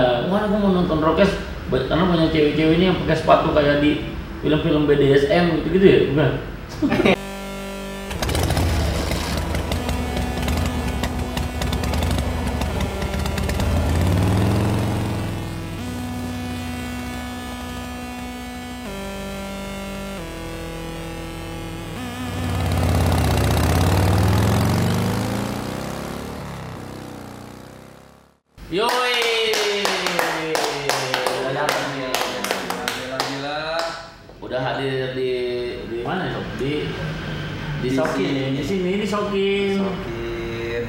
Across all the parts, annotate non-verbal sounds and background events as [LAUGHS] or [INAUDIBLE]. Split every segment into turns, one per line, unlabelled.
kemarin aku mau nonton Rockes ba- karena banyak cewek-cewek ini yang pakai sepatu kayak di film-film BDSM gitu-gitu ya bukan Yoi udah datang nih
Alhamdulillah.
udah hadir di di mana ya Sob? di di
Di
Sokin
sini.
ya di sini di Sokin
Sokir.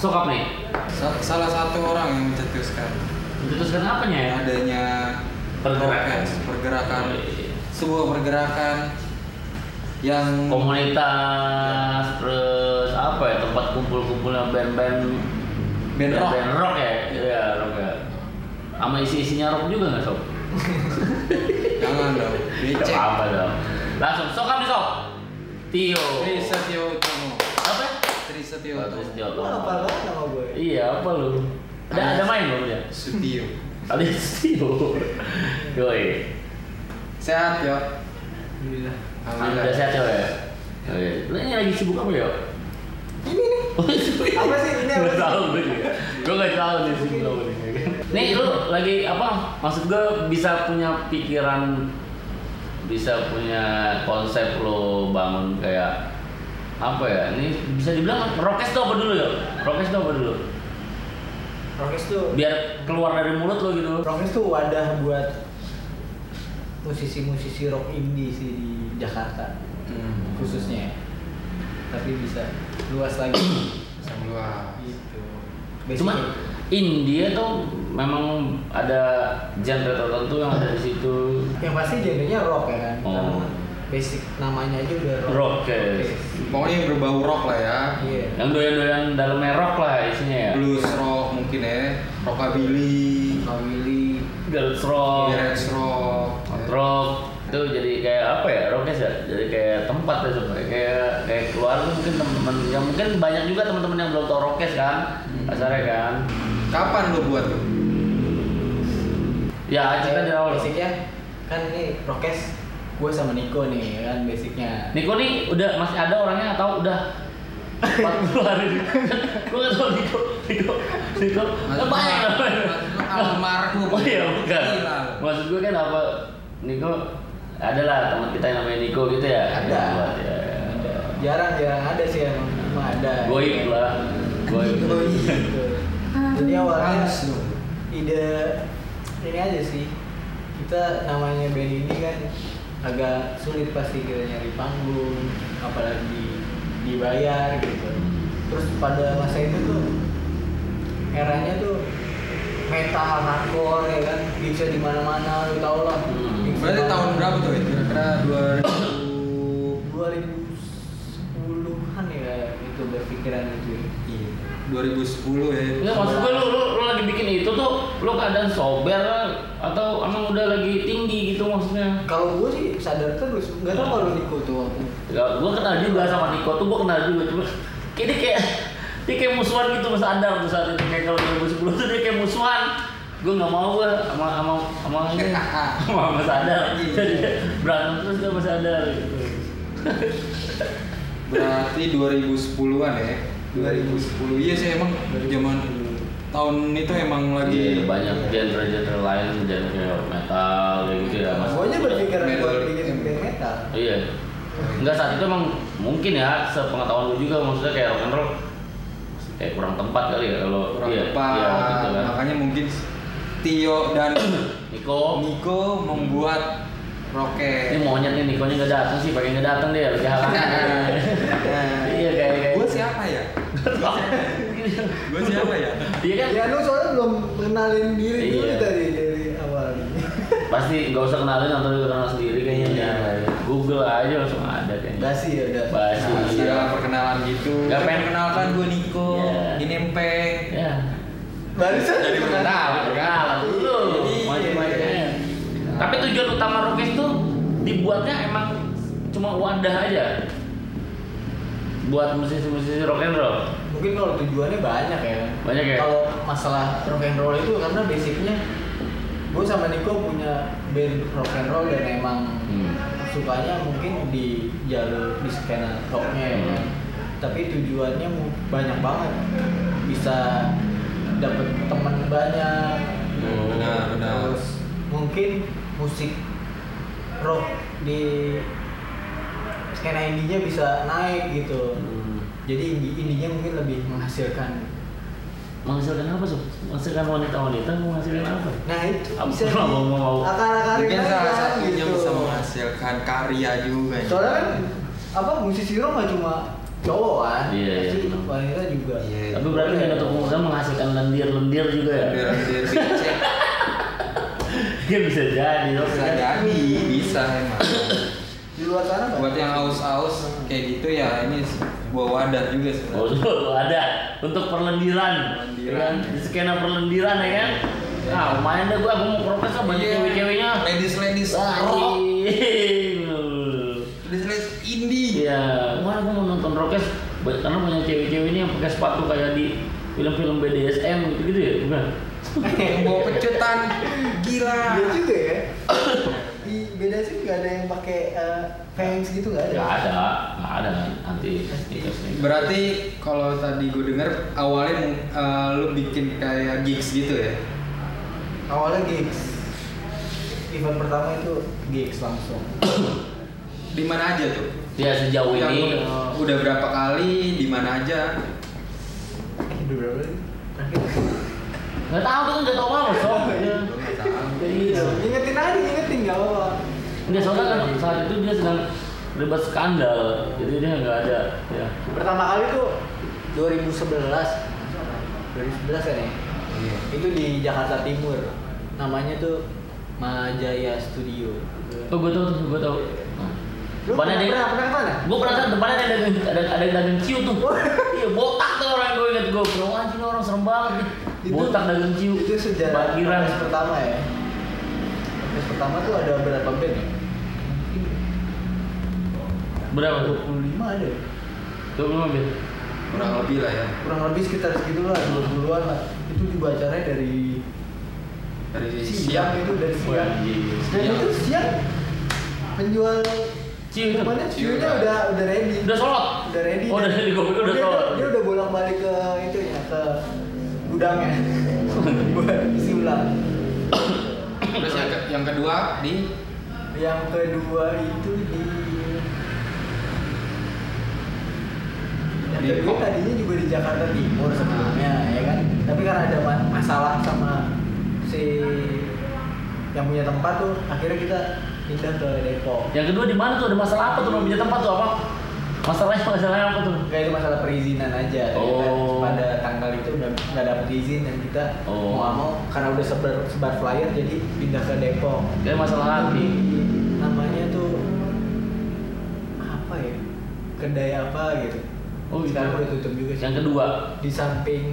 Sokap nih
Sa- salah satu orang yang mencetuskan
mencetuskan apanya ya
adanya
Pergerakan.
prokes, pergerakan, sebuah pergerakan yang
komunitas terus apa ya tempat kumpul-kumpulnya band-band
Band rock.
band rock ya iya rock ya sama isi-isinya rock juga nggak sob
jangan dong,
Nggak
becek.
apa-apa dong langsung sok kami sok Tio
Tri Setio Utomo.
apa ya?
Tri Setio
Bagus,
Utomo.
Tio
Lo apa lo nama gue?
iya apa lu ada ada main belum dia
Sutio.
ada Tio [LAUGHS] yoi
Sehat yo.
Alhamdulillah. Iya.
Alhamdulillah
Alhamdulillah.
sehat Tio ya Yoi. Lu ini lagi sibuk apa Oh, ya
Ini
[LAUGHS]
nih. Apa sih ini? Apa
Gak
sih?
tau gue juga Gue gak tau nih sih belum nih. Nih lu lagi apa Maksud gue bisa punya pikiran Bisa punya konsep lo bangun kayak Apa ya Ini bisa dibilang Rokes tuh apa dulu ya Rokes tuh apa dulu
Rockers tuh.
Biar keluar dari mulut lo gitu
Rockers tuh wadah buat musisi-musisi rock indie sih di Jakarta
Hmm.
khususnya. Tapi bisa luas lagi
Yang luar.
gitu.
Cuman India tuh memang ada genre tertentu yang ada di situ
yang pasti genrenya rock ya kan.
Oh.
Karena Basic namanya aja udah rock.
Rockers.
Pokoknya yang berbau rock lah ya.
Iya.
yang doyan-doyan dalamnya rock lah isinya ya
Blues rock mungkin ya. Rockabilly.
Family
girls rock
garage rock.
rock itu jadi kayak apa ya rocknya ya jadi kayak tempat ya sebenarnya kayak kayak keluarga mungkin teman-teman yang mungkin banyak juga teman-teman yang belum tau rockes kan
Hmm.
kasarnya kan
Kapan lu buat tuh?
ya cerita dari awal
basicnya kan ini prokes gue sama Niko nih ya kan basicnya
Niko nih udah masih ada orangnya atau udah 40 hari gue nggak tahu Niko Niko Niko
Maksud-
banyak lah
maksud lu almarhum.
oh iya bukan
Gila.
maksud gue kan apa Niko adalah teman kita yang namanya Niko gitu ya
Ada.
Yang buat, ya.
jarang jarang ada sih emang cuma ada
goib lah goib [LAUGHS]
Gitu. jadi awalnya
Halus lu.
ide ini aja sih kita namanya band ini kan agak sulit pasti kita nyari panggung apalagi dibayar gitu terus pada masa itu tuh eranya tuh metal hardcore ya kan bisa di mana mana lu tau lah
Hmm.
Berarti tahun berapa tuh? Ed? Kira-kira 2000
2010-an ya itu berpikiran gitu ya.
iya, 2010 ya.
Enggak maksud gue lu, lu, lu lagi bikin itu tuh lu keadaan sober lah, atau emang udah lagi tinggi gitu maksudnya?
kalau gue sih sadar terus nggak tau kalau Niko tuh waktu
Ya, gue kenal juga sama Niko tuh gue kenal juga cuma kayak dia kayak dia kayak musuhan gitu mas Andar tuh saat itu kayak kalau 2010 tuh dia kayak musuhan gue nggak mau gue sama sama sama ini sama Mas Andar jadi dia berantem terus dia Mas Andar gitu
Berarti 2010-an ya. 2010. Iya sih emang zaman tahun itu emang lagi
Iya, banyak genre-genre lain genre kayak metal kayak gitu ya mas
gue aja berpikir buat
Metal.
bikin band metal
Iya. Enggak saat itu emang mungkin ya sepengetahuan gue juga maksudnya kayak rock and roll kayak kurang tempat kali ya kalau
kurang
iya,
tepat.
iya, gitu kan.
Makanya mungkin Tio dan
Niko
Niko membuat
ini
roket.
monyet nih Nikonya nggak datang sih pengen nggak datang deh lagi
[LAUGHS]
halangan. Iya kayak kayak.
Gue siapa ya? Gue siapa ya?
Iya kan?
ya lu soalnya belum kenalin diri dulu
Iya.
dari dari awal
Pasti nggak usah kenalin atau lu kenal sendiri kayaknya.
Iya.
Google aja langsung ada kayaknya.
basi ya udah
Basi.
Nah, Iya, perkenalan gitu.
Nggak pengen-
perkenalkan gue Niko,
Iya.
ini Empeng.
Ya.
barusan
Jadi
kenal.
mengenal.
Perkenalan dulu.
Iya.
Macam-macam. Tapi tujuan utama Rokes tuh dibuatnya emang cuma wadah aja buat musisi-musisi rock and roll.
mungkin kalau tujuannya banyak ya
Iya.
kan
Banyak ya?
kalau masalah rock and roll itu karena basicnya gue sama Niko punya band rock and roll dan emang
Hmm.
sukanya mungkin di jalur di skena rocknya ya kan?
Hmm.
tapi tujuannya mu- banyak banget bisa dapet teman banyak
Oh,
benar, benar.
terus mungkin musik rock di skena indinya bisa naik gitu
Hmm.
jadi indie indinya mungkin lebih menghasilkan
Menghasilkan apa sob? Menghasilkan wanita-wanita menghasilkan apa?
nah itu
Apa
bisa di
mau- mau- mau.
akar-akarin
Mungkin
aja,
salah satunya
Nah, gitu.
bisa menghasilkan karya juga. ya.
soalnya kan apa musisi rock nggak cuma cowok kan
Iya, iya,
pasti
benar.
wanita juga
Iya, iya.
Tapi berarti nggak nutup kemungkinan menghasilkan lendir-lendir juga ya? [LAUGHS]
Biar dia dicek.
Iya bisa jadi. Sob.
bisa jadi, bisa emang.
di luar sana banyak.
Buat yang aus-aus kayak gitu ya ini sebuah wadah juga
Oh, [LAUGHS]
sebenarnya.
tuh, ada untuk perlendiran, Ya
Perlendiran.
kan? di skena perlendiran ya kan? Nah, lumayan deh gua, gua mau protes lah banyak
Iya.
cewek-ceweknya. Ah,
Ladies ladies
Wah,
rock.
anjing.
Ladies ladies indie.
[LAUGHS] Iya, kemarin gua mau nonton Rockes ba- karena banyak cewek-cewek ini yang pakai sepatu kayak di film-film BDSM gitu-gitu ya, bukan?
Yang bawa pecutan gila.
[LAUGHS] Iya juga ya. Di beda sih nggak ada yang pakai eh, fans gitu nggak ada.
Gak ada, gak ada kan, anti sneakers sneakers.
Berarti kalau tadi gue denger awalnya eh, lu bikin kayak gigs gitu ya?
Awalnya gigs. Event pertama itu gigs langsung.
Di mana aja tuh?
Ya sejauh
Yang
ini
udah, udah berapa kali? Di mana aja?
Eh, udah berapa lagi?
nggak tahu tuh nggak tahu apa [LAUGHS] sob. Ya.
Gua nggak tahu.
Iya.
Ingetin eh, aja, ingetin nggak apa-apa.
Enggak soalnya kan saat itu dia sedang ribet skandal, jadi dia nggak ada. Ya.
Pertama kali tuh 2011. 2011 kan ya?
Iya.
Itu di Jakarta Timur. Namanya tuh Majaya Studio.
Oh gue tau tuh, gue tau. Nah.
Lu
Depannya
pernah,
dia,
pernah, pernah ke mana?
gue pernah tahu depannya ada dagang, ada ada dagang ciu tuh. iya botak tuh orang gue inget gue, bro anjing orang serem banget. nih.
Itu-
botak dagang ciu.
itu sejarah
Parkiran.
podcast pertama ya podcast pertama tuh ada berapa band ya
Berapa tuh?
25 ada ya?
Dua puluh mobil.
Kurang lebih lah ya.
kurang lebih sekitar segitulah 20-an lah itu dibacanya dari
Dari
siang
siang.
itu dari siang
Wah, iya.
dan
Siang.
itu siang penjual
Ciu itu.
Pokoknya
Ciu,
ciunya
ya.
udah udah ready
Udah sholat.
udah ready kan?
Oh udah ready, gue pikir udah
Dia-
sholat.
dia udah bolak balik ke itu ya ke ya. gudangnya
[LAUGHS]
buat isi ulang
Terus yang, ke- yang kedua di
yang kedua itu di yang
Di-
kedua tadinya juga di Jakarta Timur sebelumnya ya kan tapi karena ada ma- masalah sama si yang punya tempat tuh akhirnya kita pindah ke Depok
Yang kedua di mana tuh? Ada masalah apa tuh? Mau punya tempat tuh apa? Masalahnya masalahnya apa tuh?
Gak itu masalah perizinan aja ya kan?
Oh.
pada tanggal itu udah nggak dapet izin dan kita
Oh.
mau nggak mau karena udah sebar sebar flyer jadi pindah ke Depok
Kayak masalah hati.
namanya tuh apa ya kedai apa gitu
Oh, gitu.
sekarang udah tutup juga sih
Yang kedua.
di samping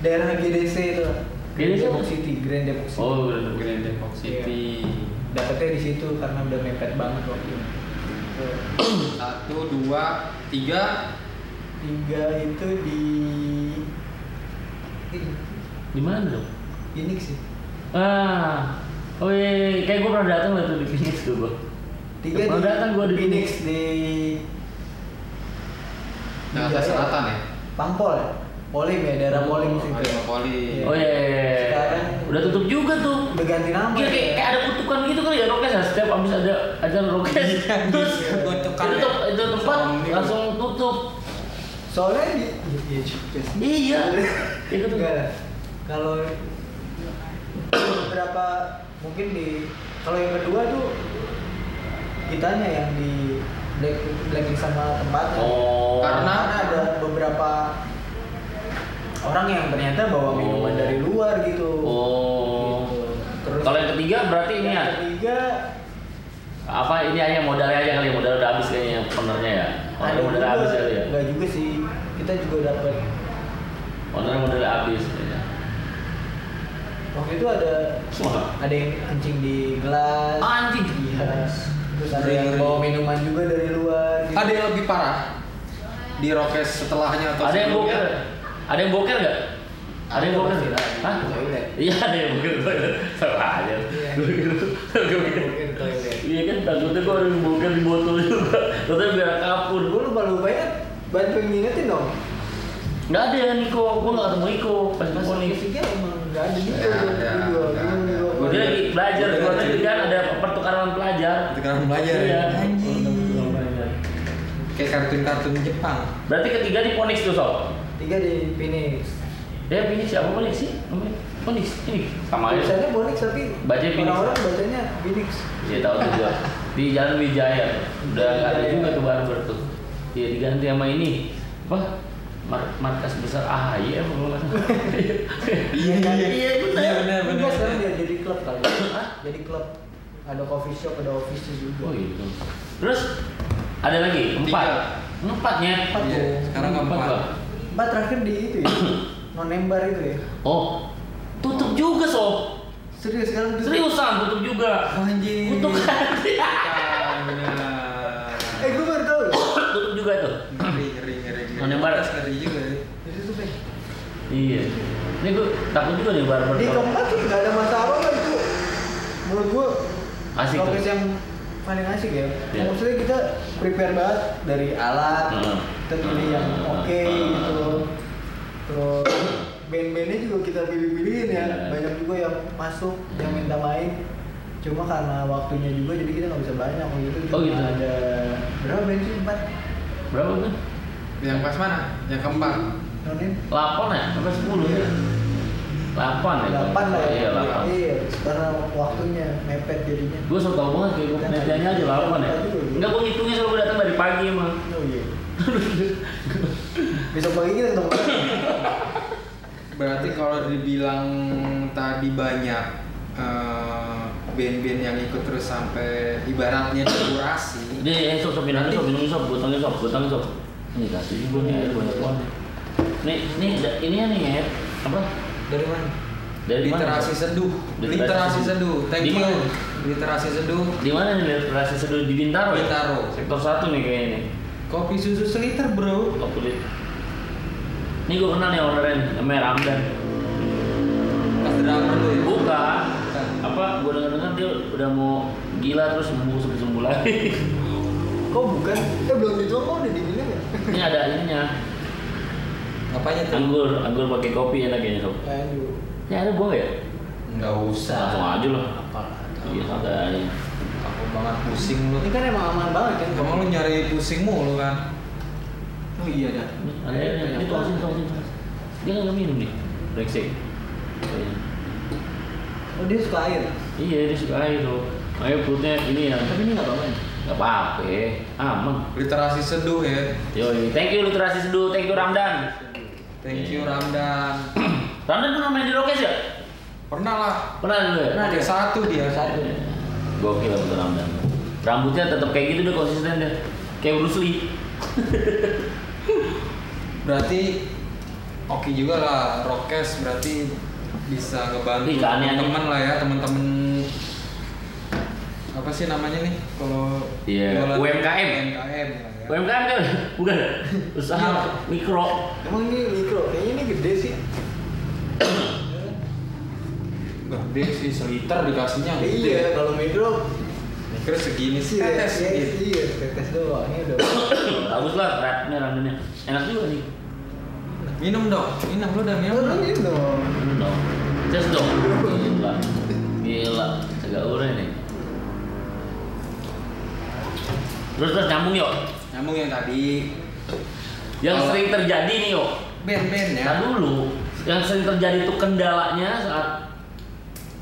daerah GDC itu
GDC?
Depok City Grand Depok City
Oh udah udah.
Grand Depok City.
dapetnya di situ karena udah mepet banget waktu itu Tuh.
Satu, dua, tiga.
tiga itu di
Di mana dong?
ini sih
Ah, oh iya, iya, iya. kayak gue pernah datang lah tuh di Phoenix tuh gue.
tiga
Pernah datang gua di
Phoenix di
Jakarta
Iya, iya.
Selatan ya?
Pampol ya Polim ya daerah Polim
Oh,
situ
Arema Polim.
Oh iya, iya, iya.
Sekarang-
udah tutup juga tuh.
oh.
udah ganti nama ya.
Gila, kayak, kayak ada kutukan gitu kali ya Rokes ya setiap abis ada acara Rokes iya.
Iya, gitu.
terus
kutukan
itu, tem-
ya.
itu tempat
Zombie.
langsung tutup.
soalnya di iya, iya juga sih.
[LAUGHS] Iya. Itu tuh.
Enggak lah. kalau beberapa mungkin di kalau yang kedua tuh kitanya yang di black blacklist sama tempatnya
Oh.
Karena-
karena ada beberapa orang yang ternyata bawa minuman
Oh.
dari luar gitu.
Oh.
Gitu. Terus
Kalau yang ketiga berarti ini ya
yang ketiga
apa ini aja modalnya aja kali ya modal udah habis kayaknya ownernya ya.
ada
Ownernya modal
juga,
habis kali ya.
enggak juga sih. Kita juga dapat
Ownernya modal habis kayaknya.
waktu itu ada
Wah.
ada yang kencing di gelas.
Ah, Anjing.
Iya. Terus ada yang bawa minuman juga dari luar. gitu.
Ada yang lebih parah. di Rockes setelahnya atau
Ada yang
sebelumnya?
boker? Ada yang boker nggak? ya? Ada yang boker?
Pasti lah, di
Hah?
toilet.
Iya ada yang boker [LAUGHS] toilet. Salah aja.
Iya.
Gua kira- gua kira-
Mungkin toilet.
Iya kan takutnya gua ada yang boker di botol juga. Takutnya biar kapur.
Gue lupa lupa ya, bantu ngingetin dong.
Nggak ada ya Niko, gua nggak ketemu Niko pas di
Mas
Poni.
musiknya emang nggak ada juga.
Nggak
gua-
ada,
gua- gua-
nggak ada.
gua-
Dia lagi belajar,
Gua
gua
dengar
tadi
cerita.
kan ada pertukaran pelajar.
Pertukaran pelajar,
Iya.
ya? Anjing. Kayak kartun-kartun Jepang.
Berarti ketiga di Ponix tuh sob.
Tiga di Phoenix.
Ya Ponix siapa Ponix sih? Namanya Ponix ini sama aja.
Tulisannya Bonix tapi
Bacanya Phoenix.
orang-orang bacanya Phoenix.
Iya tahu tuh gua. Di Jalan Wijaya. Udah nggak ada
Wijaya.
juga tuh barber tuh. Iya diganti sama ini. Apa? Mar- markas besar AHY E apa kalau nggak salah.
Iya, iya.
Iya, benar.
Iya, benar,
Enggak
benar.
sekarang dia jadi klub kali.
Hah?
jadi klub. Ada coffee shop, ada office juga.
Oh gitu. Terus ada lagi empat.
Tiga.
Empatnya.
Empat
Iya,
tuh.
sekarang keempat.
Pak.
Mbak terakhir di itu
[COUGHS]
ya. non nembar itu ya.
Oh, tutup juga sob.
Serius sekarang tuh.
Seriusan tutup juga.
Anjing.
Kutuk
Iya. Bukan, beneran.
Eh gue baru tahu. ya.
[LAUGHS] tutup juga tuh.
Ngeri, ngeri, ngeri. ngeri.
Nonton barat.
Ngeri juga ya.
Jadi tuh Bang.
Iya. Ini gue takut juga nih barber.
Di
kalau-
keempat sih nggak ada masalah lah itu. Menurut gue
Asik
lokasi
tuh.
yang paling asik ya.
Iya.
Maksudnya kita prepare banget dari alat,
Heeh.
kita pilih yang oke
Heeh.
gitu. Terus band-bandnya juga kita pilih-pilihin ya.
Iya.
Banyak juga yang masuk, yang minta main. Cuma karena waktunya juga jadi kita nggak bisa banyak waktu itu.
Oh,
cuma
gitu.
Ada berapa band sih empat?
Berapa tuh?
Yang pas mana? Yang keempat.
Nonin?
8 ya? Sampai 10 ya? 8 ya?
Delapan lah ya.
Iya, 8
Iya, karena waktunya mepet jadinya.
Gue suka tau banget kayak gue penelitiannya aja 8 ya? Enggak, gue ngitungnya selalu gue datang dari pagi emang
Oh iya. Besok pagi kita ketemu.
Berarti kalau dibilang tadi banyak eh, band-band yang ikut terus sampai ibaratnya dekorasi.
Dia eh sob, sob, minum sob, minum sob, gue tanggil sob, gue tanggil sob Ini kasih gue nih, air banyak banget Nih, nih, da- ini ya nih ya Apa?
Dari mana?
Dari mana?
literasi
Sob?
seduh.
Literasi
Literasi
seduh.
seduh. Thank
Di
you.
mana?
Literasi seduh.
Di mana nih literasi seduh? Di Bintaro ya?
Bintaro.
Sektor 1 nih kayaknya nih
Kopi susu seliter, Bro.
Gak pelit Ini gue kenal nih ownernya nih, namanya Ramdan
Pas drama lu ya.
Bukan. Apa gue denger dengar dia udah mau gila terus sembuh sembuh sembuh lagi. [LAUGHS]
Kok bukan? Eh belum dijual kok udah dibilang ya?
Ini ada ininya.
Apanya tuh?
Anggur, anggur pakai kopi enak kayaknya sob.
Aduh.
Ini ada gua nggak ya?
Enggak usah.
Langsung aja lah.
Apalah.
Iya santai aja.
Aku banget pusing lu.
Ini kan emang aman banget kan?
Kamu lu nyari pusing mulu kan?
Oh iya dah.
Ini ada ini ini tuang sini tuang sini. tuang sini. Dia nggak minum nih. Brengsek. Kayaknya.
Oh dia suka air.
Iya dia suka air tuh. Ayo perutnya ini ya.
Tapi ini nggak apa-apa.
Gak apa-apa. Aman.
Literasi seduh ya.
Yoi, thank you literasi seduh, thank you Ramdan.
Thank you
Iya.
Ramdan.
Ramdan pernah main di Rokes ya?
Pernah lah.
Pernah dulu ya?
Pernah
Pakai
dia.
satu dia.
Satu.
Gokil betul Ramdan. Rambutnya tetap kayak gitu dia konsisten dia. Kayak Bruce Lee.
Berarti oke juga lah Rockes berarti bisa ngebantu
Iya,
Ih, keanehan
teman-teman lah ya, teman-teman apa sih namanya nih kalau
Iya,
jualan-
UMKM.
UMKM lah ya.
UMKM kan? Bukan. Usaha mikro.
Emang ini mikro? Kayaknya ini gede sih.
Gede sih seliter dikasihnya.
Iya. Kalau mikro
Terus segini sih
sih
tetes
ya,
gitu.
Iya. Tetes doang. Ini udah.
Bagus lah, ratnya Ramdannya. Enak juga nih.
Minum dong, minum lu udah minum.
Lu
belum?
ini dong.
Minum dong. Just dong. Gila. Gila. Agak uren nih. Terus terus nyambung yuk.
Nyambung yang tadi
Yang
Kalau-
sering terjadi nih yuk.
band-band ya.
Nah dulu, yang sering terjadi itu kendalanya saat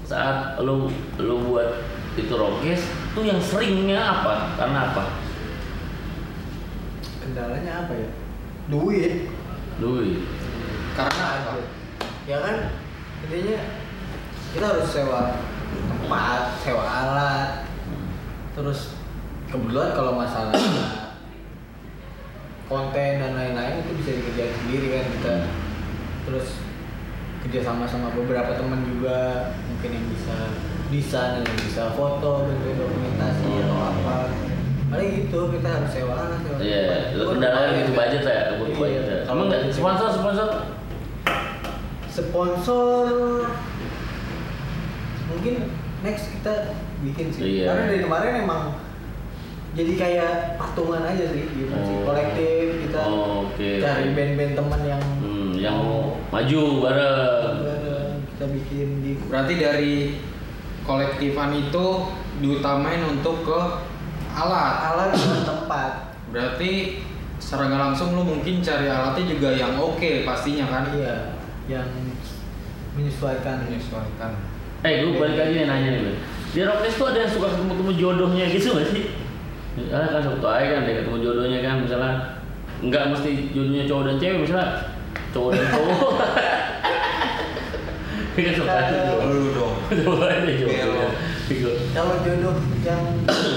saat lu lu buat itu rokes tuh yang seringnya apa? Karena apa?
Kendalanya apa ya? Duit.
Duit.
Karena apa?
ya kan intinya kita harus sewa tempat sewa alat terus kebetulan kalau masalah konten dan lain-lain itu bisa dikerjain sendiri kan kita terus kerja sama sama beberapa teman juga mungkin yang bisa desain yang bisa foto bentuk dokumentasi atau apa paling gitu kita harus sewa lah sewa
Iya,
tempat.
itu kendalanya gitu budget lah ya, butuh
Iya.
budget ya.
Kalau
Emang nggak
budget.
sponsor sponsor?
sponsor mungkin next kita bikin sih
Iya.
karena dari kemarin emang jadi kayak patungan aja sih gitu sih
Oh.
kolektif kita
Oh, oke.
cari band-band teman yang
Hmm, yang mau maju bareng.
bareng, kita bikin di
Berarti dari kolektifan itu diutamain untuk ke alat.
alat dan tempat
Berarti secara nggak langsung lu mungkin cari alatnya juga yang oke pastinya kan?
iya yang menyesuaikan
Menyesuaikan.
Eh, gue balik lagi nih nanya nih. Bang. Di Rockness tuh ada yang suka ketemu-ketemu jodohnya gitu gak sih? Misalnya kan suka aja kan, dia ketemu jodohnya kan, misalnya nggak mesti jodohnya cowok dan cewek, misalnya cowok dan
[LAUGHS]
cowok. Dia kan suka aja jodoh.
Lu dong.
Cowok aja jodohnya. Gitu.
kalau jodoh yang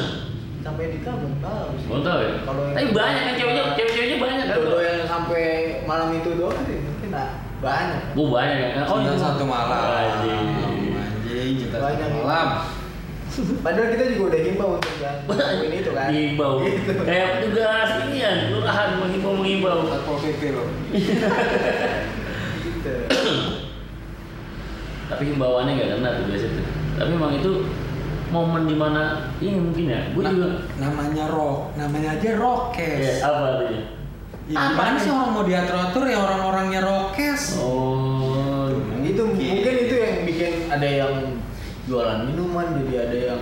[COUGHS] sampai nikah belum tahu sih
Mau tahu ya?
Kalau yang-
Tapi banyak kan ceweknya, cewek-ceweknya banyak kan?
jodoh yang sampai malam itu doang sih mungkin nah, banyak
Bu banyak kan?
Cinta
itu-
satu malam.
Anjing.
Anjing, cinta satu
Banyak. ya.
malam.
padahal kita juga udah himbau untuk yang ngelakuin itu kan
Dihimbau. Kayak petugas ini ya, kelurahan menghimbau menghimbau.
Satpol PP loh.
gitu
tapi himbauannya nggak kena tuh biasa tuh tapi emang itu momen dimana ini mungkin ya gue
Na-
juga
namanya rock, namanya aja
ya,
rockes.
apa artinya
Ya, gimana sih orang mau diatur-atur ya orang-orangnya rockes?
oh
Nah, itu mungkin itu yang bikin ada yang jualan minuman jadi ada yang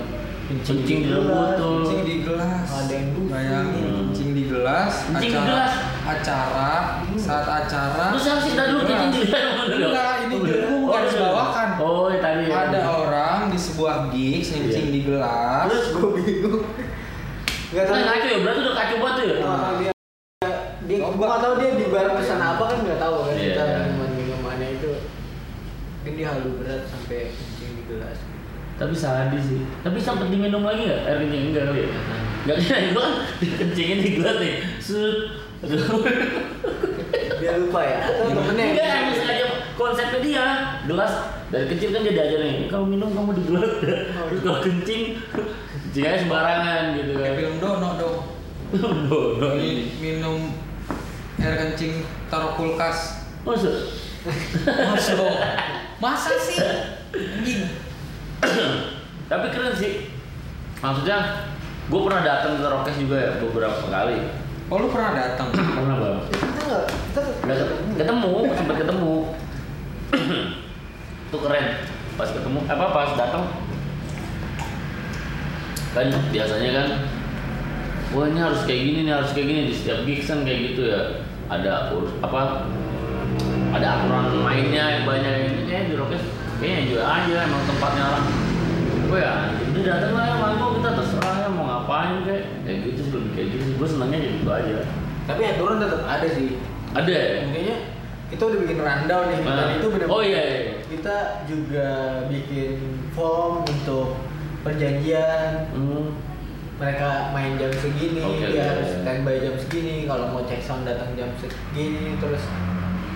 Kencing di dalam
gelas.
botol.
Kencing di gelas.
Ada yang dulu.
Bayangin
Hmm.
kencing di gelas.
Kencing di
acara,
gelas?
Acara saat acara.
terus harus kita dulu kita dilihat
Nah. Enggak, ini dulu bukan dibawakan.
oh ya tadi ya.
Ada orang di sebuah gigs kencing
Iya.
di gelas.
terus gue bingung nggak
Kan
tahu
ngaco ya berarti udah kacau banget tuh ya
Nah.
Ah, dia dia
Oh,
gua nggak tahu dia di bar pesan apa kan nggak tahu kan
Iya.
kita minuman minumannya itu mungkin dia halu berat sampai kencing di gelas
tapi sadis sih tapi sempet diminum lagi nggak air kencing enggak kali ya nggak kira gue kan [LAUGHS] dikencingin di gelas ya. nih sud
dia lupa ya atau temennya
Enggak, emang sengaja konsepnya dia gelas dari kecil kan dia diajarin kalau minum kamu digelas terus kalau kencing jika sembarangan gitu kan
Kayak film dono dong.
[LAUGHS] Bodoh
Mi- Minum air kencing taruh
[LAUGHS]
kulkas.
masa
Masuk. Masa sih? Anjing.
[CLEARS THROAT] tapi keren sih maksudnya gue pernah datang ke Rokes juga ya beberapa kali [CLEARS THROAT]
Oh lu pernah datang?
pernah bang
kita nggak kita
Nggak ket- ketemu sempat ketemu itu keren pas ketemu apa pas datang kan biasanya kan wah ini harus kayak gini nih harus kayak gini di setiap gigs kan kayak gitu ya ada urus apa ada aturan mainnya yang banyak yang ini eh, di Rockes kayaknya enjoy aja emang tempatnya orang gue ya anjing, dia datang lah ya manggung kita terserah ya mau ngapain kayak kayak gitu sih lebih kayak gitu sih gue senangnya jadi itu aja
tapi aturan tetap ada sih
ada ya?
intinya kita udah bikin rundown nih dan
Ah.
itu benar
Oh, iya, iya.
kita juga bikin form untuk perjanjian
Hmm.
mereka main jam segini
Oke,
dia
oke.
harus standby jam segini kalau mau check sound datang jam segini terus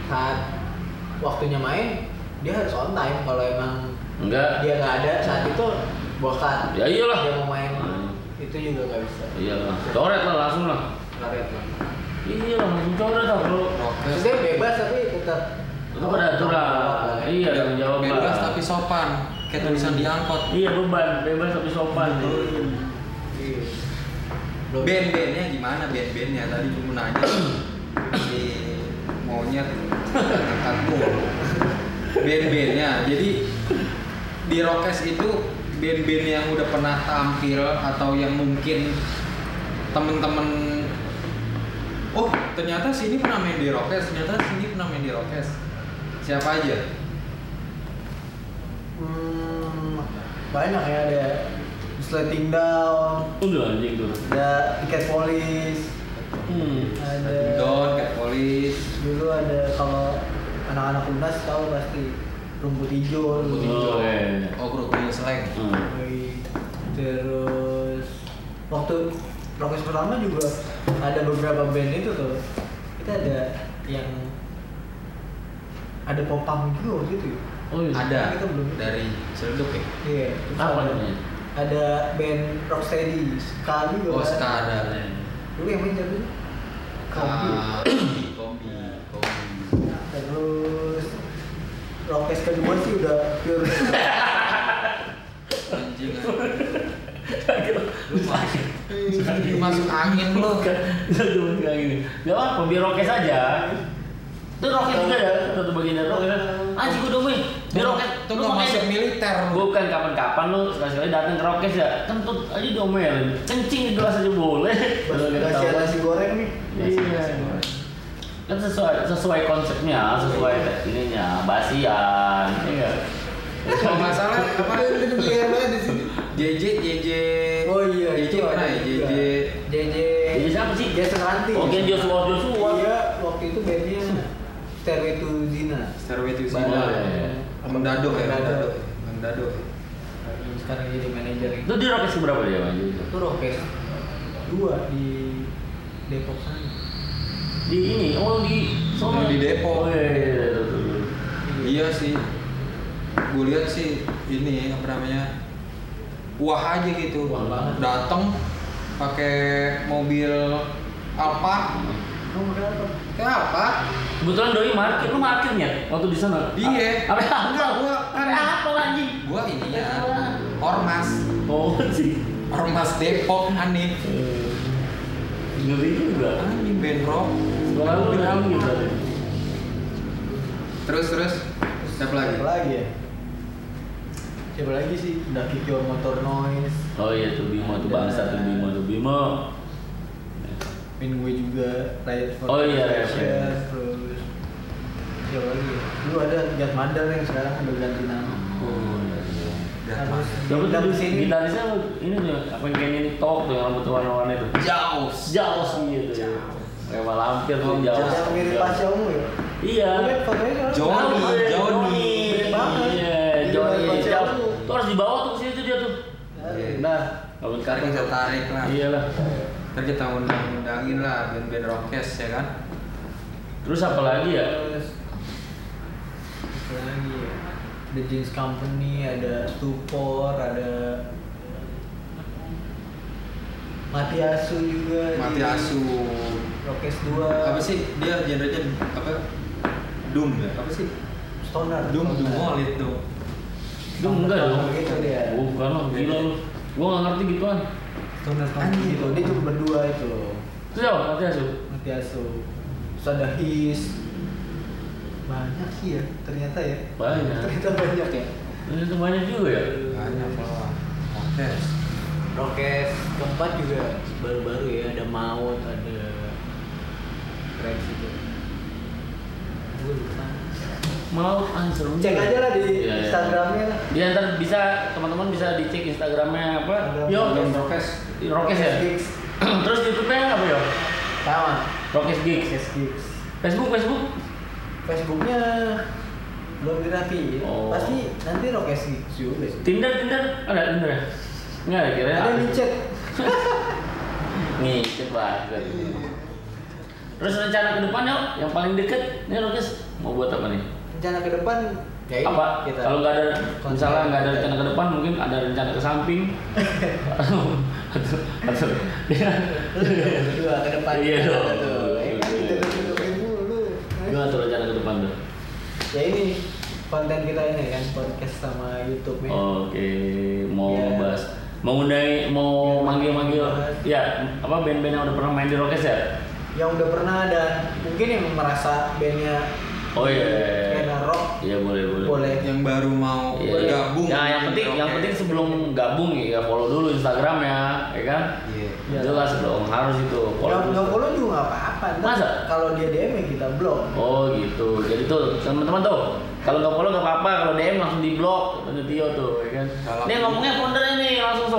saat waktunya main dia harus on time kalau emang
enggak
dia nggak ada saat itu bokat
Iya. Ya iyalah.
dia mau main
Hmm.
itu juga nggak bisa
Iya lah, coret lah langsung lah.
karet lah
Iya lah, langsung coret lah bro.
Rockes.
maksudnya bebas tapi tetap
Itu pada aturan. Iya, tanggung jawab lah.
Bebas tapi sopan. Kayak tulisan di angkot.
Iya beban, bebas tapi sopan.
Iya.
Iya.
Belum-
Band-bandnya gimana? Band-bandnya tadi gue nanya si monyet angkat gua. Band-bandnya. Jadi di Rockes itu band-band yang udah pernah tampil atau yang mungkin temen-temen Oh, ternyata sini pernah main di Rockes, ternyata sini pernah main di Rockes. Siapa aja?
hmm, banyak ya ada Slating Down
Udah anjing tuh.
ada tiket polis
Hmm.
ada
Don, Cat Police,
dulu ada kalau anak-anak unas tahu pasti rumput hijau
Rumput
Rumput
Hijau. Oke.
Oh, Bro Slang.
Hmm.
terus waktu rockes pertama juga ada beberapa band itu tuh kita ada yang ada popang juga waktu itu ya.
Oh iya.
Ada
Kita belum.
dari Celduk ya?
iya terus
Apa
ada-
namanya?
ada, ada band Rocksteady, Ska juga
Oh,
kan?
Ska ada.
Dulu yang main siapa? Kombi.
Ah, kombi, kombi, kombi.
Terus Rockes kedua sih udah pure
Anjing. Lu masuk. Lu masuk angin lu.
Cuma bilang gini. Gak apa, biar rokes aja. Itu rokes juga ya, satu bagian dari rokes. Anjing gue domain, biar rokes.
Tuh nggak masuk militer. lu.
Bukan kapan-kapan lu sekali-sekali datang ke rokes ya, kentut aja domain. Kencing di gelas aja boleh. Baru dia
nasi
ketahuan.
nasi goreng nih.
Nasi-
ya,
nasi goreng. Kan sesuai sesuai konsepnya, sesuai ininya, basian. Iya.
Kalau nggak salah, kemarin lu beli apa di sini? JJ, JJ.
Oh iya,
JJ
itu
mana
ada
ya?
juga.
JJ.
JJ.
Jadi siapa sih?
Jason Ranti.
Oke, Joshua Joshua.
Iya, waktu itu bandnya Stairway to Zina.
Stairway to
Boleh.
Zina. Bang iya, Dado ya, Bang
Bang
Dado.
Dado.
Bang Dado.
Sekarang jadi manajer
Itu di rokes berapa dia, Bang?
Itu Rockes dua di Depok sana.
Di ini, oh di sono.
Di Depok.
Oh, iya, iya, iya, iya, iya.
Iya sih. Gue lihat sih ini apa namanya? Wah aja gitu.
Wah banget.
Datang pakai mobil Alphard.
Kamu berapa?
Kayak apa?
Kebetulan doi market, lu marketnya waktu di sana. A- Ah,
Iya.
Apa? ya? Ah.
Enggak, gua kan
Apa lagi?
gua ini ya. Ormas,
Oh sih.
Ormas Depok aneh.
Ngeri juga.
Aneh band rock.
Sekolah lu
Iya.
bilang gitu.
Terus terus siapa lagi?
Siapa lagi ya? Siapa lagi sih? Udah Kikyo Motor Noise,
Oh iya tuh Bimo tuh bangsa tuh Bimo tuh Bimo.
Min gue juga, Riot for
Oh iya, Riot
Protection,
Riot.
terus siapa lagi ya? Dulu ada Jat Mandar yang sekarang udah ganti nama Terus
Dapat
pindah
dari
ke
sini. Gitarisnya ini tuh apa yang kayak ini tok tuh yang rambut warna-warna itu.
Jauh.
Jauh sih gitu. ya. Memang lampir tuh
Oh,
jauh.
Yang mirip Pasha Ungu ya?
Iya.
Gue liat fotonya kan?
Jauh. Johnny,
Ah, iya,
Johnny.
Mirip banget.
Iya,
Jadi
Johnny.
baru baca
Jauh.
aku.
Tuh harus dibawa tuh ke sini tuh dia tuh.
Nah,
Rambut
Ntar kita
karet.
tarik lah.
Iyalah.
Ntar kita undang-undangin lah band-band rockes ya kan.
Terus apa lagi ya?
terus apa lagi ya? The Jeans Company, ada Stupor, ada Matiasu juga di-
Mati Asu.
Rockes 2
Apa sih dia genrenya apa? Doom ya? Apa sih?
Stoner
Doom, Doom Molid dong.
Lu enggak dong.
Gitu dia.
Bukan lo, gila lu. Gua enggak ngerti gituan.
Stoner Stoner
Anjing.
gitu Dia cuma berdua itu
Itu siapa? Nanti asu.
Matiasu Terus ada His Banyak sih ya ternyata ya
Banyak.
Ternyata banyak ya
Ini tuh banyak juga ya.
Banyak lah. Rockes.
Rokes keempat juga baru-baru ya ada maut ada Rex itu. Gue lupa.
Mau anjir.
Cek aja lah di
Iya, iya.
Instagramnya lah.
Di antar bisa teman-teman bisa dicek Instagramnya apa?
Instagram.
Yo,
Doom Rockes.
Rokes ya.
Gigs.
[CLEARS THROAT] Terus YouTube-nya apa yo?
Sama.
Rokes Gigs.
Rokes Gigs.
Facebook, Facebook.
ya, Facebooknya belum dirapi.
Oh.
Pasti nanti Rokes Gigs juga. sih.
Tinder, Tinder. Ada Tinder ya? Enggak ada kira.
Ada micet.
Nih, coba. Terus rencana ke depan yuk, yang paling deket nih Rokes mau buat apa nih?
Rencana ke depan ya ini
apa
kita.
kalau nggak ada
Konten.
misalnya nggak ada rencana ke depan mungkin ada rencana ke
[LAUGHS]
samping atau atau ya.
[LAUGHS] Berdua ke depan.
Iya dong. Iya,
Tuh, eh, kan kita tutupin mulu. Eh.
nggak tuh rencana ke depan tuh
ya ini konten kita ini kan podcast sama YouTube ya.
oke mau
Iya.
bahas mau undang mau
Iya,
manggil manggil
bahas.
ya apa band-band yang udah pernah main di Rockes ya
Yang udah pernah ada mungkin yang merasa bandnya
oh iya
Kena rock.
iya boleh boleh
boleh.
Yang baru mau
Iya.
gabung.
Nah, yang penting yang penting sebelum gabung ya follow dulu Instagramnya, ya kan?
Iya.
Iya.
Jelas dong, harus itu. Follow
Nggak
dulu.
nggak follow juga nggak apa-apa. Ntar
Masa?
Kalau dia DM ya kita blok.
Oh gitu. Jadi tuh teman-teman tuh kalau nggak follow nggak apa-apa, kalau DM langsung di blok kata Tio tuh, ya kan.
Salah.
Ini ngomongnya founder ini langsung sob.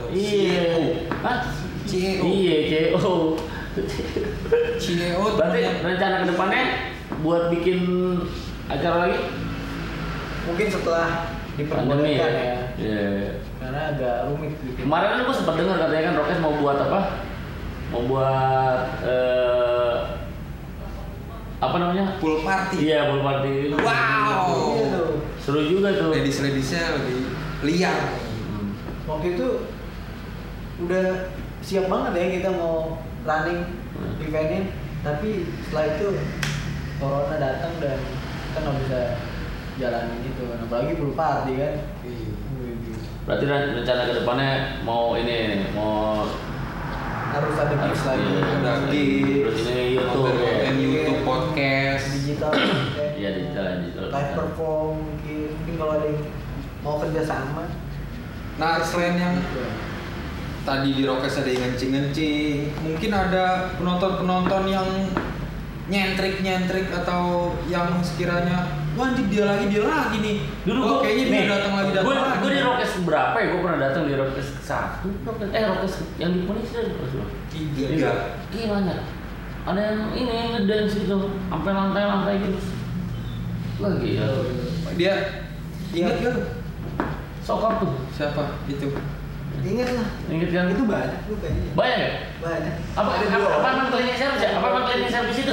Founder.
Iya.
CEO.
Hah?
CEO.
Iya, CEO.
CEO
Berarti rencana kedepannya buat bikin acara lagi?
Mungkin setelah
Pandemi ya.
diperbolehkan ya.
Iya.
Karena agak rumit gitu.
Kemarin kan gue sempat dengar katanya kan Rockes mau buat apa? Mau buat eh, apa namanya?
pool party.
Iya, pool party.
Wow.
Iya tuh.
Oh. Seru juga tuh.
Ladies-ladiesnya lebih liar.
Hmm.
waktu itu udah siap banget ya kita mau running
Hmm.
eventnya tapi setelah itu corona datang dan kita nggak bisa jalanin gitu kan apalagi full party kan Wih,
Berarti ren- rencana kedepannya mau ini mau
harus ada gigs lagi ya.
Iya,
ada gigs.
Terus ini iya YouTube.
Dan YouTube podcast.
digital content.
Iya, digital, digital.
live perform mungkin mungkin kalau ada yang mau kerja sama
Nah selain yang
gitu.
tadi di Rokes ada yang ngencing-ngencing, mungkin ada penonton-penonton yang nyentrik-nyentrik atau yang sekiranya wah anjir dia lagi dia lagi nih.
Dulu
Wah,
gua
Oh, kayaknya dia
nih,
datang lagi datang
gua,
lagi.
gua di Rokes berapa ya? Gua pernah datang di Rokes satu, Rokes eh Rokes yang di Poni sih ada Rokes berapa?
tiga.
Iya banyak. Ada yang ini ngedance gitu, sampai lantai-lantai gitu. Lagi ya.
Dia
Iya.
ingat gak?
Sokor tuh.
Siapa itu?
ingat lah
Ingat yang
itu banyak lu kayaknya
Banyak ya?
banyak
Apa apa
Ada dua
apa
orang.
emang cleaning service ya? Apa emang cleaning service itu?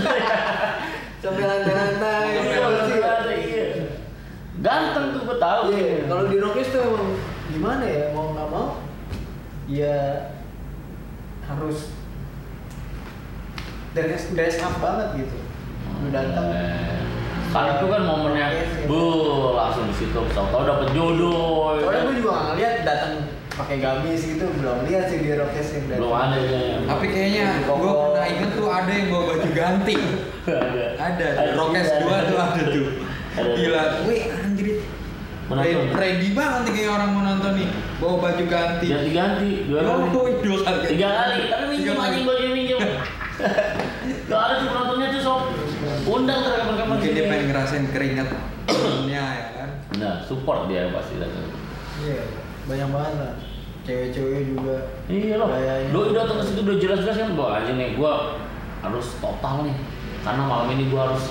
sampai lantai-lantai
Iya,
gitu, bersih.
lantai, iya. Ganteng tuh gua tahu.
Iya, kalau di Rockies tuh emang gimana ya mau nggak mau ya harus dress dress up banget gitu lu datang
Kan itu kan momennya,
Iya.
bu langsung di situ. Tahu-tahu dapet jodoh. ya
soalnya
kan?
gue juga nggak ngeliat datang pakai gamis gitu belum lihat sih di Rockies yang datang
Belum ada kan? kayaknya.
Tapi kayaknya
Koko.
gua pernah inget tuh ada yang bawa baju ganti.
[LAUGHS] Ada.
Ada, di Rokes
juga,
dua
ada.
tuh ada tuh.
Ada.
Gila, wih anjir.
Menonton.
Ready- Ready banget nih kayak orang mau nonton nih. Bawa baju ganti.
Ganti-ganti. Iya, Dua kali.
Yo, idol kan.
Tiga kali. Tapi minjem
kali.
anjing baju minjem. [LAUGHS] Gak ada tuh penontonnya tuh sob. Undang tuh rekaman-rekaman
Mungkin dia pengen ngerasain keringat temennya ya kan.
Nah, support dia pasti datang.
Iya, banyak banget lah cewek-cewek juga
Iya loh.
Gayanya.
Doi datang ke situ udah jelas-jelas kan gua anjing nih gua harus total nih. Karena malam ini gua harus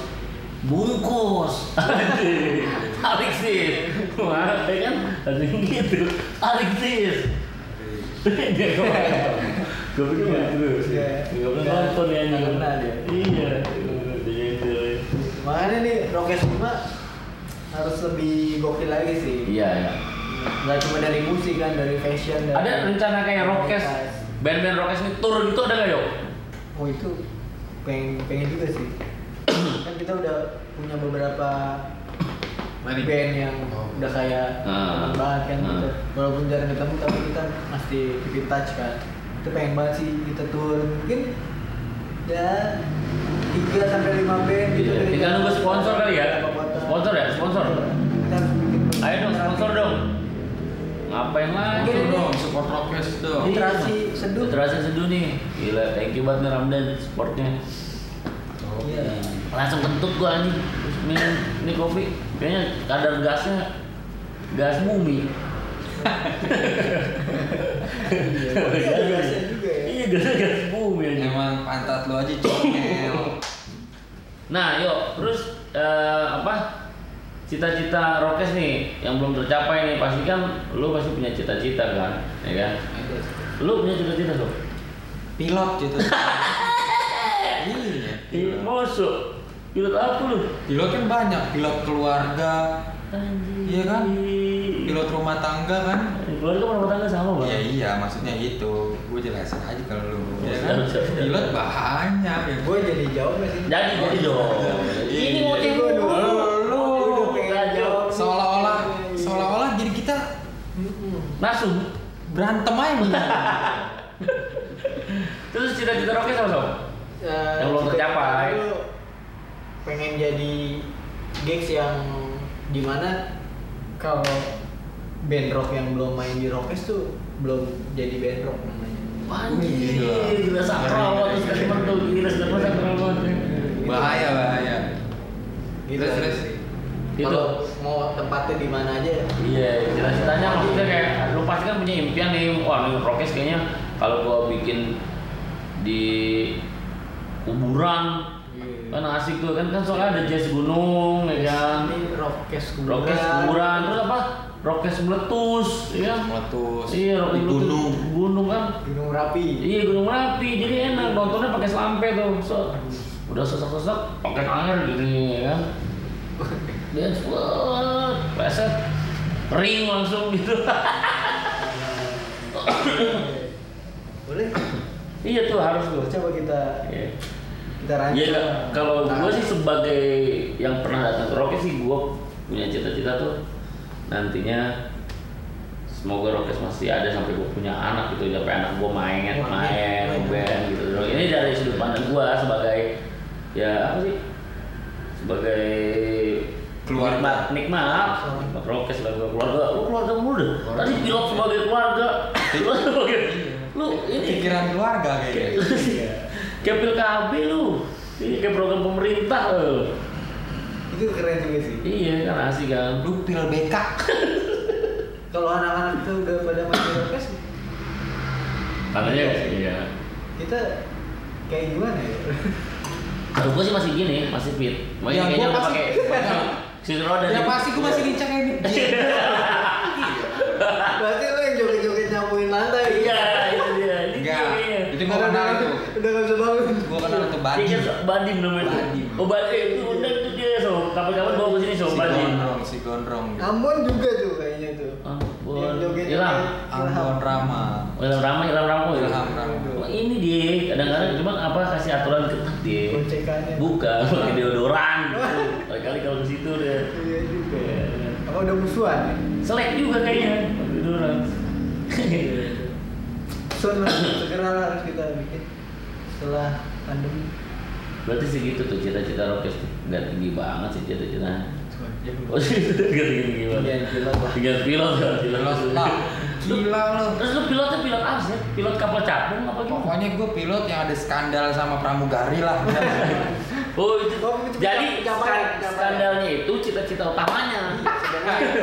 bungkus. [LAUGHS] Anjing. Tarik sis. Wah, ya kan? Anjing gitu. Tarik sis. Dia kemarin. Gua pikir
Iya.
gitu.
Iya.
Gua bilang nonton ya anjing.
Nggak kenal dia.
Iya. Dia gitu.
makanya nih Rockies 5 harus lebih gokil lagi sih
Iya, iya.
nggak cuma dari musik kan dari fashion dari
Ada rencana kayak rockes,
Iya.
band-band rockes ini tour gitu ada nggak yuk?
oh itu pengen pengen juga
[CLEARS THROAT]
sih kan kita udah punya beberapa
Mari.
band yang udah kayak
Oh. Ah.
teman banget kan
Ah.
kita walaupun jarang ketemu tapi kita masih keep in touch kan itu pengen banget sih kita tour mungkin ya tiga sampai lima band gitu
Iya,
dari
tinggal nunggu
Jakarta,
sponsor kali ya.
beberapa kota. Iya.
Sponsor ya, sponsor.
Kita harus bikin
Ayo dong sponsor dong. Ngapain lagi?
Support dong, support Rokes dong.
Iya.
Literasi seduh.
Literasi seduh nih. Gila, thank you banget nih Ramdan supportnya. [LAUGHS]
Iya.
Langsung kentut gua anjing. Terus Minum ini kopi. Kayaknya kadar gasnya gas bumi.
Iya, ada gasnya juga ya.
Iya, gasnya gas bumi anjing.
Emang pantat lu aja comel.
Nah, yuk, terus eh, apa? Cita-cita Rokes nih yang belum tercapai nih pasti kan lu pasti punya cita-cita kan, ya kan? Lu punya cita-cita sob?
Pilot gitu. Iya.
Iya,
pilot.
masuk. Pilot apa lu?
Pilot kan banyak, pilot keluarga,
Anjir.
Iya kan? pilot rumah tangga kan.
Keluarga pernah tangga sama bang?
Iya iya, maksudnya gitu. Gue jelasin aja kalau lu. Ya
Siap,
kan?
siap, siap.
Pilot banyak ya.
gue jadi jawab nggak sih
Jadi jadi dong.
Iya.
Ini mau
Gua
tipu.
dulu. Gua udah pengen jawab.
Seolah-olah, seolah-olah jadi kita
Mm-mm.
Langsung.
berantem aja
[LAUGHS]
bener.
Terus cita-cita Rokes apa sob?
Eh,
Yang belum tercapai.
cita-cita lu pengen jadi gigs yang dimana kalau band rock yang belum main di Rockes tuh belum jadi band rock namanya
Anjir,
Gila.
gila sakral
Iya,
banget terus kayak tuh gila sakral sakral banget.
bahaya bahaya.
gitu
Terus terus.
Gitu.
kalau mau tempatnya di mana aja
Iya, cita-citanya maksudnya kayak lu pasti kan punya impian nih, wah nih prokes kayaknya kalau gua bikin di kuburan kan asik tuh kan kan soalnya ada jazz gunung ya kan
ini Rockes kuburan
rokes kuburan terus apa rokes meletus ya
Meletus.
iya
Di
rokes meletus
gunung.
gunung kan
Gunung Rapi
iya gunung merapi jadi enak nontonnya pakai selampe tuh so, udah sesak-sesak pakai air gini ya kan dance wah peset ring langsung gitu
boleh
[LAUGHS] Iya tuh harus tuh.
coba kita
Iya.
kita rancang
Ya kalau
Nah,
gue sih sebagai yang pernah datang ke Rocket sih gue punya cita-cita tuh nantinya semoga Rocket masih ada sampai gue punya anak gitu sampai anak gue main
Wah,
main
iya, iya.
band gitu. Ini dari sudut pandang gue sebagai ya apa sih sebagai
Keluarga.
nikmat nikmat nikmat Rocket sebagai keluarga lu keluarga mulu deh tadi pilot sebagai keluarga
Iya.
lu sebagai lu ini
pikiran keluarga kayaknya
Iya. kayak pil KB lu ini kayak program pemerintah lu
itu keren juga sih
iya kan asik kan
lu pil BK
kalau anak-anak itu udah pada main Eurocast
katanya iya
kita kayak gimana
[LAUGHS]
ya
kalau gua sih masih gini masih fit Makanya
Ya,
kayaknya
gua
udah
pasti-
pakai si roda nih.
ya pasti gue masih lincah kayak gini
berarti lo yang joget-joget nyapuin lantai
[LAUGHS] iya itu dia Ini
enggak
kayaknya.
itu gue kenal itu
udah gak bisa bangun
gue kenal itu
Iya,
Badim
Badim namanya tuh.
Badim.
Oh, Badim. Eh, Itu udah itu dia, so. Kapan-kapan bawa ke sini, so.
si
Badim.
Gondrong si Gondrong
Ambon juga tuh kayaknya tuh
Ampun.
yang joget-joget
Ilham.
Ambon Rama
Oh, Ilham Rama, Ilham Rama. oh, Ilham.
Ilham Rama
Oh, ini dia. Kadang-kadang cuma apa kasih aturan ketat dia.
boncekannya
Bukan, pakai deodoran. gitu. Kali-kali kalau ke situ deh.
iya juga apa udah musuhan ya?
Selek juga kayaknya pakai [LAUGHS] deodoran.
Sun lah, segera lah harus kita bikin setelah pandemi
Berarti segitu tuh cita-cita Rokes tuh. Nggak tinggi banget sih cita-citanya.
Gila
Oh, cita-cita nggak tinggi gimana?
Iya, pilot lah.
Tinggal pilot kan?
Pilot lah
Iya.
gila lo
Terus lu pilotnya pilot apa sih? Pilot kapal capung apa gimana?
pokoknya gue pilot yang ada skandal sama pramugari
[LAUGHS]
lah
Iya. Oh, itu.
Oh, itu
Jadi
pilot
skan-
kapal.
skandalnya itu cita-cita utamanya. Dengan skandal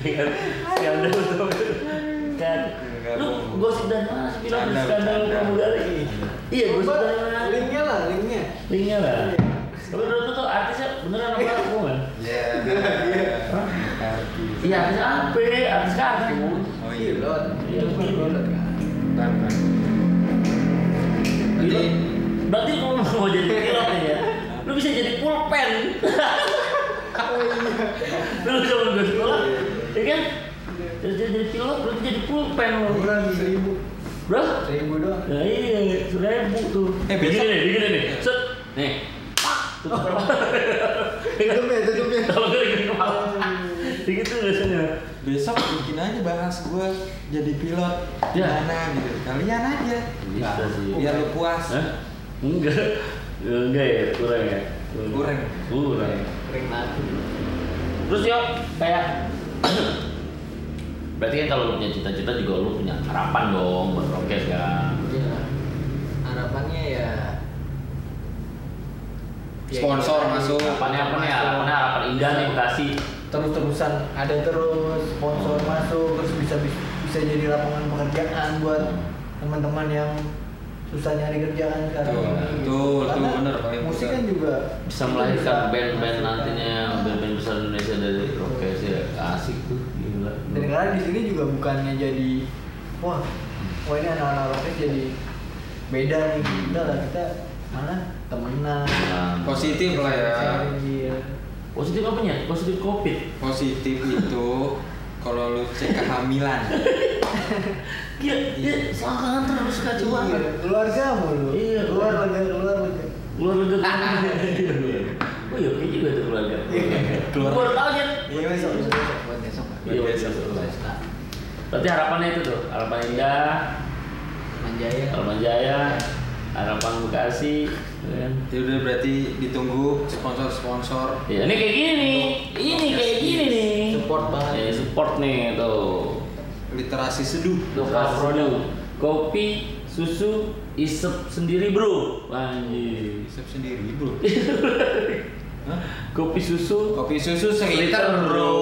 itu. kan.
Enggak,
Lu
bohong.
gosip dari mana sih pilot
Skandal,
skandal
skandal.
pramugari? Iya, gosip dari mana?
Linknya lah, linknya
Linknya Iya lah. Tapi menurut lu tuh artisnya beneran apa aku kan?
ya
Iya, artis apa? Artis kan. kartun.
oh iya
Pilot
Iya,
kan?
pilot.
Bentar, bentar.
Pilot.
Jadi,
Berarti lu mau [LAUGHS] jadi pilot nih ya? Lu bisa jadi [LAUGHS] pulpen. lu bisa menunggu sekolah, ya kan? Terus jadi jadi pilot, berarti jadi pulpen lu.
Kurang seribu
Bro?
Seribu doang
Ya iya, seribu tuh.
Eh,
begini
besok-
nih, begini nih. Set. Nih. Pak. [LAUGHS] Tuh,
Tutup ya, tutup ya
Kalau gue gini kepala. Begitu biasanya.
besok bikin aja bahas gue jadi pilot
Ya.
gimana gitu kalian aja
Bisa
Nah,
sih.
biar lu puas
Hah? Enggak. Enggak ya, kurang ya.
Kurang.
Kurang.
Ring mati
Terus yuk kayak [COUGHS] Berarti kan kalau lu punya cita-cita juga lu punya harapan dong buat Rockes kan.
Iya Harapannya ya
Sponsor
kita-
masuk.
Harapannya apa nih? Harapannya harapan indah nih Bekasi.
terus-terusan ada terus sponsor masuk terus bisa bisa jadi lapangan pekerjaan buat teman-teman yang susah nyari kerjaan sekarang
Tuh,
ini. gitu.
tuh, tuh,
Karena
bener, Pak.
musik kan juga
Bisa melahirkan band-band
menghasilkan.
nantinya band-band besar Indonesia dari Rockes ya. Asik tuh, gila.
dan karena di sini juga bukannya jadi wah wah ini anak-anak rocknya jadi beda nih kita lah kita malah temenan
Nah,
positif lah ya
Iya.
Positif apa nih? Positif Covid.
positif itu kalau lu cek
[LAUGHS]
kehamilan
Gila, dia seakan terus kacauan.
Iya, keluar kamu lu
Iya.
keluar lega keluar lega
Luar negeri. [LAUGHS] Oh iya, ini juga tuh keluarga.
Keluar.
Baru tahu Jen.
Iya, besok, besok,
buat besok
Iya,
Besok.
besok. Berarti harapannya itu tuh, harapan Indah,
Manjaya
harapan Jaya, harapan Bekasi, gitu kan.
ya udah berarti ditunggu sponsor-sponsor
Iya, ini kayak gini nih. Ini kayak gini nih.
Support banget.
Iya, support nih tuh.
literasi seduh
Tuh produk kopi, susu, isep sendiri, Bro. Anjir.
Isep sendiri bro Hah?
Kopi susu
kopi susu
Sliter
seliter bro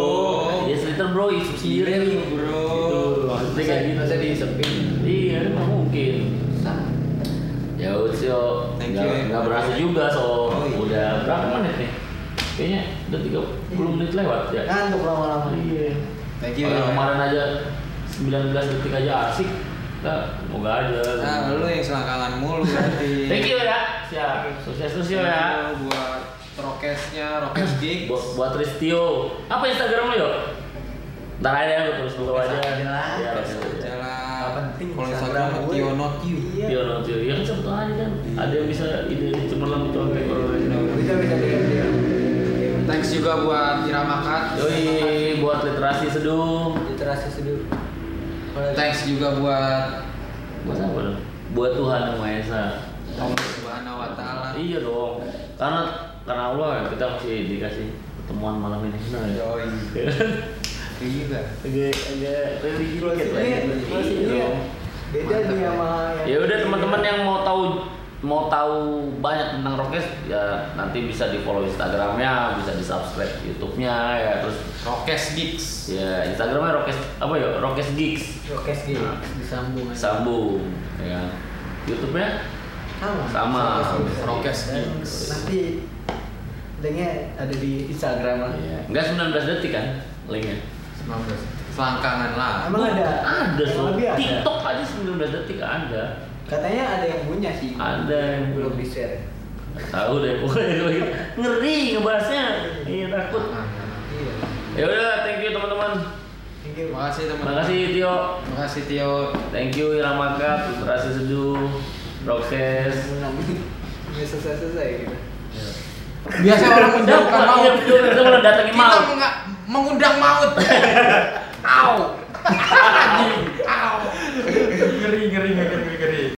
Iya sliter bro, isi sendiri
Iya, bro.
Gitu, Maksudnya kayak gitu
Masa diisepin?
Iya, nggak mungkin Ya udah yo
Thank
Nggak-
you, ya.
nggak berasa juga so
Oh, iya.
Udah berapa menit nih? Kayaknya udah 30 menit lewat ya
ngantuk lama-lama
Iya
Iya. Ah. thank you
Kalau
ya.
kemarin aja 19 detik aja asik Kita semoga aja gitu.
Nah, lu yang selangkangan mulu berarti.
[LAUGHS] Thank you ya Siap, sukses terus yo ya
Lu Buat rokesnya, rokes gig.
Buat, buat Ristio Apa Instagram lo yo? Ntar aja lu terus dulu
Podcast
aja.
aja lah.
Iya,
Podcast
podcast aja.
Jalan.
Gak penting,
Kalau
Instagram
Instagram
gue.
Tio Not You.
Iya.
Iya, no, Tio. Iya, kan satu hari kan. Ada yang bisa ide cemerlang itu kayak orang lain.
Bisa bisa bisa. bisa.
Thanks juga buat Irama Kat.
Yoi, buat literasi seduh.
Literasi seduh.
Thanks juga buat
Buat apa dong? Buat Tuhan Yang Maha Esa.
Allah Subhanahu wa taala.
Iya dong. Karena karena Allah ya, kita masih dikasih pertemuan malam ini. Nah, ya.
Yoi. Iya juga.
[LAUGHS] Agak agak religi dikit lah.
Closingnya,
Iya
closingnya
dong.
ya. beda
Mantap,
dia
ya.
sama
Ya udah teman-teman yang mau tahu mau tahu banyak tentang Rokes ya nanti bisa di follow Instagramnya, bisa di subscribe YouTube-nya ya terus
Rokes Geeks.
ya Instagramnya Rokes apa ya Rokes Gigs
Rokes gitu,
Nah.
disambung aja.
sambung ya. YouTube-nya
Sama.
Sama.
Rokes.
Rokes
Dan
Geeks.
Nanti linknya ada di Instagram lah.
Iya.
ya. enggak 19 detik kan linknya.
19. Selangkangan lah.
Emang ada?
Ada
Emang
soal
lebih ada?
TikTok aja 19 detik ada.
Katanya ada yang punya sih.
Ada yang
belum
punya.
di share.
Tahu deh pokoknya ngeri ngebahasnya. Iya takut.
Selangkangan.
Iya.
Ya udah, thank you teman-teman.
Thank you.
Terima kasih teman-teman.
Makasih Tio.
Terima kasih Tio.
Thank you Irama Cup, Literasi Seduh, Rokes.
Menang. [LAUGHS] Ini selesai-selesai gitu.
Biasa orang menjauhkan
Jangan
maut.
kita mulai datengin
Kita
maut.
nggak mengundang maut. Maut. Anjing.